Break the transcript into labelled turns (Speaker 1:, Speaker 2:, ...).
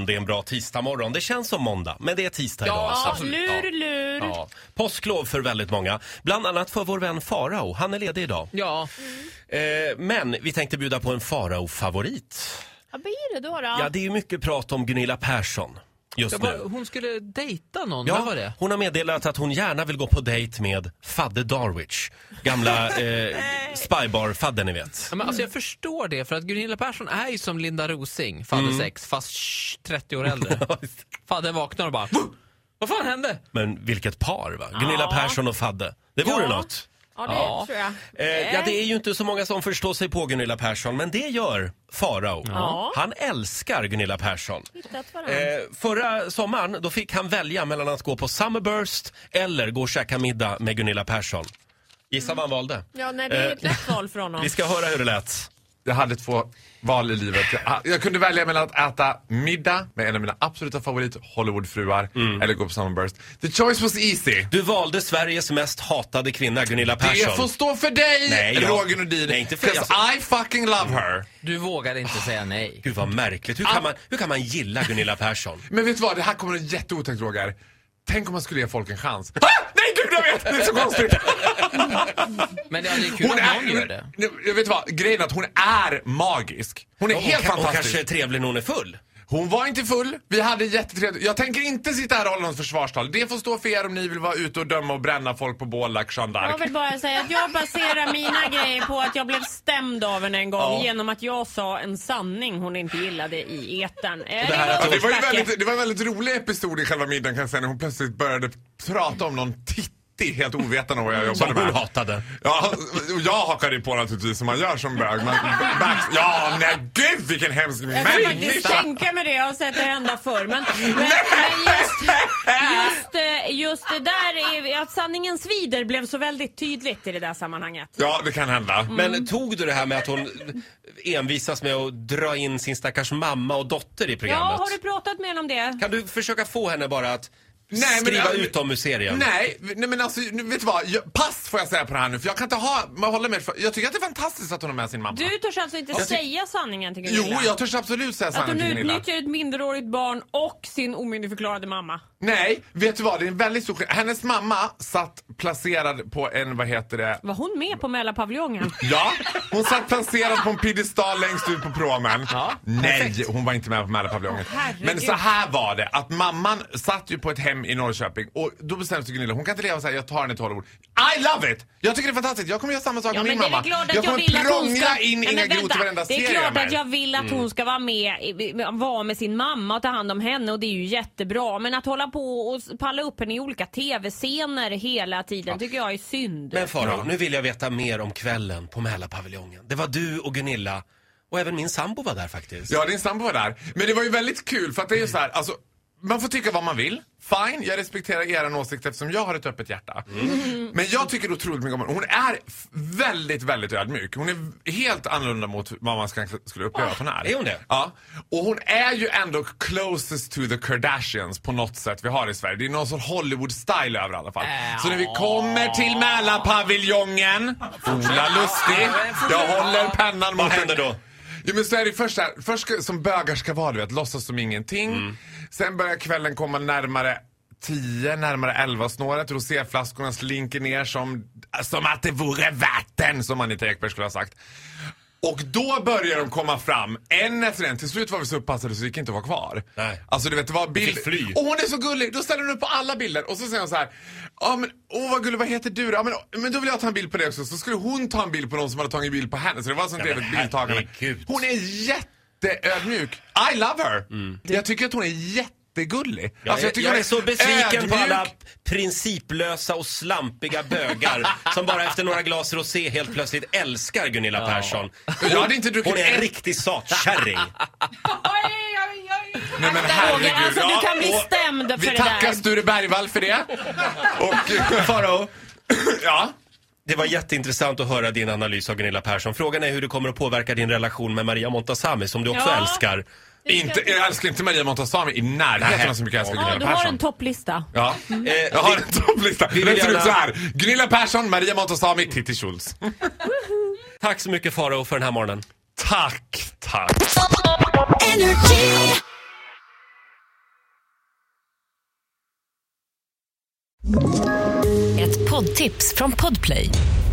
Speaker 1: om det är en bra tisdagmorgon. Det känns som måndag, men det är tisdag idag.
Speaker 2: Ja,
Speaker 1: alltså.
Speaker 2: lur, lur. Ja.
Speaker 1: Ja. Påsklov för väldigt många. Bland annat för vår vän Farao. Han är ledig idag.
Speaker 3: Ja,
Speaker 1: Eh, men vi tänkte bjuda på en Farao-favorit.
Speaker 2: Vad blir det då? då?
Speaker 1: Ja, det är ju mycket prat om Gunilla Persson just
Speaker 3: jag bara,
Speaker 1: nu.
Speaker 3: hon skulle dejta någon,
Speaker 1: Ja,
Speaker 3: vad var det?
Speaker 1: hon har meddelat att hon gärna vill gå på dejt med Fadde Darwich. Gamla eh, spybar-Fadde, ni vet.
Speaker 3: Ja, men alltså jag förstår det, för att Gunilla Persson är ju som Linda Rosing, fadder 6, fast shh, 30 år äldre. Fadden vaknar och bara "Vuh! Vad fan hände?
Speaker 1: Men vilket par, va? Gunilla Persson och Fadde. Det vore
Speaker 2: Ja.
Speaker 1: något.
Speaker 2: Ja, det
Speaker 3: Ja.
Speaker 2: tror jag.
Speaker 1: Eh, ja, det är ju inte så många som förstår sig på Gunilla Persson, men det gör Farao.
Speaker 2: Ja.
Speaker 1: Han älskar Gunilla Persson.
Speaker 2: Hittat varandra.
Speaker 1: Eh, förra sommaren då fick han välja mellan att gå på Summerburst eller gå och käka middag med Gunilla Persson. Gissa vad han valde?
Speaker 2: Ja, nej, det är ett lätt val för honom.
Speaker 1: eh, Vi ska höra hur det lät.
Speaker 4: Jag hade två val i livet. Jag, ah, jag kunde välja mellan att äta middag med en av mina absoluta favorit Hollywoodfruar eller gå på Summerburst. The choice was easy.
Speaker 1: Du valde Sveriges mest hatade kvinna, Gunilla Persson.
Speaker 4: Det får stå för dig,
Speaker 1: Nej, jag-
Speaker 4: Roger Nordin.
Speaker 1: Nej, inte för-
Speaker 4: 'Cause I fucking love her.
Speaker 3: Du vågade inte säga nej.
Speaker 1: Gud vad märkligt. Hur kan, man, hur kan man gilla Gunilla Persson?
Speaker 4: Men vet du vad, det här kommer en jätteotänkt Roger. Tänk om man skulle ge folk en chans. Ah! Nej gud jag vet! Det är så konstigt!
Speaker 3: Men det ja, det är kul att någon gör det.
Speaker 4: hon, jag vet vad, grejen är att hon är magisk. Hon är
Speaker 1: Hon,
Speaker 4: helt
Speaker 1: ka- hon
Speaker 4: fantastisk.
Speaker 1: kanske är trevlig när hon är full.
Speaker 4: Hon var inte full, vi hade jättetrevligt. Jag tänker inte sitta här och hålla något försvarstal. Det får stå för er om ni vill vara ute och döma och bränna folk på bål, like Jeanne
Speaker 2: Jag
Speaker 4: d'Arc.
Speaker 2: vill bara säga att jag baserar mina grejer på att jag blev stämd av henne en gång genom att jag sa en sanning hon inte gillade i etern. Eh,
Speaker 1: det här
Speaker 2: var
Speaker 1: att-
Speaker 4: Ja, det, var ju
Speaker 2: uppförsbacke.
Speaker 4: väldigt, det var en väldigt rolig episod i själva middagen kan jag säga när hon plötsligt började prata om någon titti helt ovetande om vad jag
Speaker 1: Som
Speaker 4: jobbade
Speaker 1: hon
Speaker 4: med.
Speaker 1: hatade.
Speaker 4: Ja, och jag hakade ju på naturligtvis som man gör som bög. Men back, ja, nej gud vilken hemsk
Speaker 2: Jag kan faktiskt
Speaker 4: människa!
Speaker 2: tänka mig det, jag har sett det hända förr. Men, men, men just, just, eh, just det där, är, att sanningen svider blev så väldigt tydligt i det där sammanhanget.
Speaker 4: Ja, det kan hända.
Speaker 2: Mm.
Speaker 1: Men tog du det här med att hon envisas med att dra in sin stackars mamma och dotter i
Speaker 2: Ja,
Speaker 1: programmet?
Speaker 2: har du pratat med henne om det?
Speaker 1: Kan du försöka få henne bara att
Speaker 4: Nej, men-
Speaker 1: skriva
Speaker 4: men-
Speaker 1: ut dem ur serien?
Speaker 4: Nej, nej men alltså, nu, vet du vad? Jag, pass får jag säga på det här nu för jag kan inte ha, man håller med. Jag tycker att det är fantastiskt att hon har med sin mamma.
Speaker 2: Du törs alltså inte säga sanningen till Gunilla?
Speaker 4: Jo, jag törs absolut säga
Speaker 2: Att
Speaker 4: sanningen
Speaker 2: hon
Speaker 4: till Gunilla.
Speaker 2: utnyttjar ett minderårigt barn och sin omyndigförklarade mamma.
Speaker 4: Nej, vet du vad? Det är en väldigt stor skillnad. Hennes mamma satt placerad på en, vad heter det?
Speaker 2: Var hon med på Mälarpaviljongen?
Speaker 4: Ja, hon satt placerad på en piedestal längst ut på promen.
Speaker 3: Ja,
Speaker 4: Nej,
Speaker 3: perfekt.
Speaker 4: hon var inte med på Mälarpaviljongen.
Speaker 2: herregud.
Speaker 4: Men så här var det, att mamman satt ju på ett hem i Norrköping och då bestämde sig Gunilla, hon kan inte leva så här, jag tar henne till Hollywood. I love it! Jag tycker det är fantastiskt, jag kommer göra samma sak
Speaker 2: Ja,
Speaker 4: med
Speaker 2: men
Speaker 4: min
Speaker 2: det är
Speaker 4: mamma.
Speaker 2: väl klart att jag,
Speaker 4: jag kommer
Speaker 2: vill att hon
Speaker 4: prångla
Speaker 2: ska...
Speaker 4: in
Speaker 2: Nej, men
Speaker 4: Inga Groth i
Speaker 2: vänta.
Speaker 4: varenda Mm.
Speaker 2: Det
Speaker 4: serie
Speaker 2: är klart att
Speaker 4: med.
Speaker 2: jag vill att hon ska vara med, i- vara med sin mamma och ta hand om henne och det är ju jättebra. Men att hålla på och s- palla upp henne i olika tv-scener hela tiden tycker jag är synd.
Speaker 1: Men Farao, nu vill jag veta mer om kvällen på Mälarpaviljongen. Det var du och Gunilla och även min sambo var där faktiskt.
Speaker 4: Ja, din sambo var där. Men det var ju väldigt kul för att det är ju så här, alltså man får tycka vad man vill. Fine, jag respekterar er åsikt eftersom jag har ett öppet hjärta.
Speaker 1: Mm.
Speaker 4: Men jag tycker otroligt mycket om henne. Hon är f- väldigt, väldigt ödmjuk. Hon är v- helt annorlunda mot vad man ska- skulle uppleva att hon är.
Speaker 1: Ah, Är hon det?
Speaker 4: Ja. Och hon är ju ändå closest to the Kardashians på något sätt vi har i Sverige. Det är någon sorts Hollywood-style över i alla fall.
Speaker 1: Äh,
Speaker 4: Så när vi kommer till Mälarpaviljongen, Ola Lustig, jag håller pennan mot
Speaker 1: Vad händer då?
Speaker 4: Jo men så är det först så här, först ska, som bögar ska vara du vet, låtsas som ingenting. Sen börjar kvällen komma närmare 10, närmare 11 snåret. Roséflaskorna slinker ner som, som att det vore vatten som Anita Ekberg skulle ha sagt. Och då börjar de komma fram, en efter en. Till slut var vi så upppassade så vi gick inte att vara kvar.
Speaker 1: Nej.
Speaker 4: Alltså du vet, det var bild...
Speaker 1: fick fly.
Speaker 4: Och hon är så gullig! Då ställer hon upp på alla bilder och så säger hon så här. Ja men, åh vad gullig, vad heter du då? Ja, men, åh, men då vill jag ta en bild på dig också. Så skulle hon ta en bild på någon som hade tagit en bild på henne. Så det var sånt
Speaker 1: Ja, men
Speaker 4: trevligt bildtagande.
Speaker 1: herregud.
Speaker 4: Hon är jätteödmjuk. I love her! Jag tycker att hon är
Speaker 1: Ja,
Speaker 4: jättegullig.
Speaker 1: Mm. jag,
Speaker 4: alltså, tycker
Speaker 1: jag,
Speaker 4: hon
Speaker 1: är så besviken på
Speaker 4: ödmjuk.
Speaker 1: alla principlösa och slampiga bögar som bara efter några glas rosé helt plötsligt älskar Gunilla Persson.
Speaker 4: Jag hade inte druckit
Speaker 1: Hon är en
Speaker 4: ett-
Speaker 1: riktig satkärring.
Speaker 4: Nej men herregud.
Speaker 2: Roger, alltså
Speaker 4: Ja,
Speaker 2: du kan bli
Speaker 4: och
Speaker 2: stämd för
Speaker 4: Vi
Speaker 2: det
Speaker 4: tackar
Speaker 2: där.
Speaker 4: Sture Bergvall för det. Och...
Speaker 1: Farao,
Speaker 4: ja.
Speaker 1: det var jätteintressant att höra din analys av Gunilla Persson. Frågan är hur det kommer att påverka din relation med Maria Montazami som du också
Speaker 2: Ja.
Speaker 1: älskar.
Speaker 4: Inte, jag älskar inte Maria Montazami i närheten av så mycket jag älskar
Speaker 2: Ja,
Speaker 4: Gunilla
Speaker 2: du har
Speaker 4: Persson.
Speaker 2: en topplista.
Speaker 4: Ja.
Speaker 1: Eh,
Speaker 4: Jag har en topplista.
Speaker 1: vi
Speaker 4: Den
Speaker 1: vill
Speaker 4: ser
Speaker 1: gärna-
Speaker 4: ut så här. Gunilla Persson, Maria Montazami, Titti Schultz.
Speaker 1: Tack så mycket Farao för den här morgonen.
Speaker 4: Tack, tack.
Speaker 5: Energy. Ett poddtips från Podplay.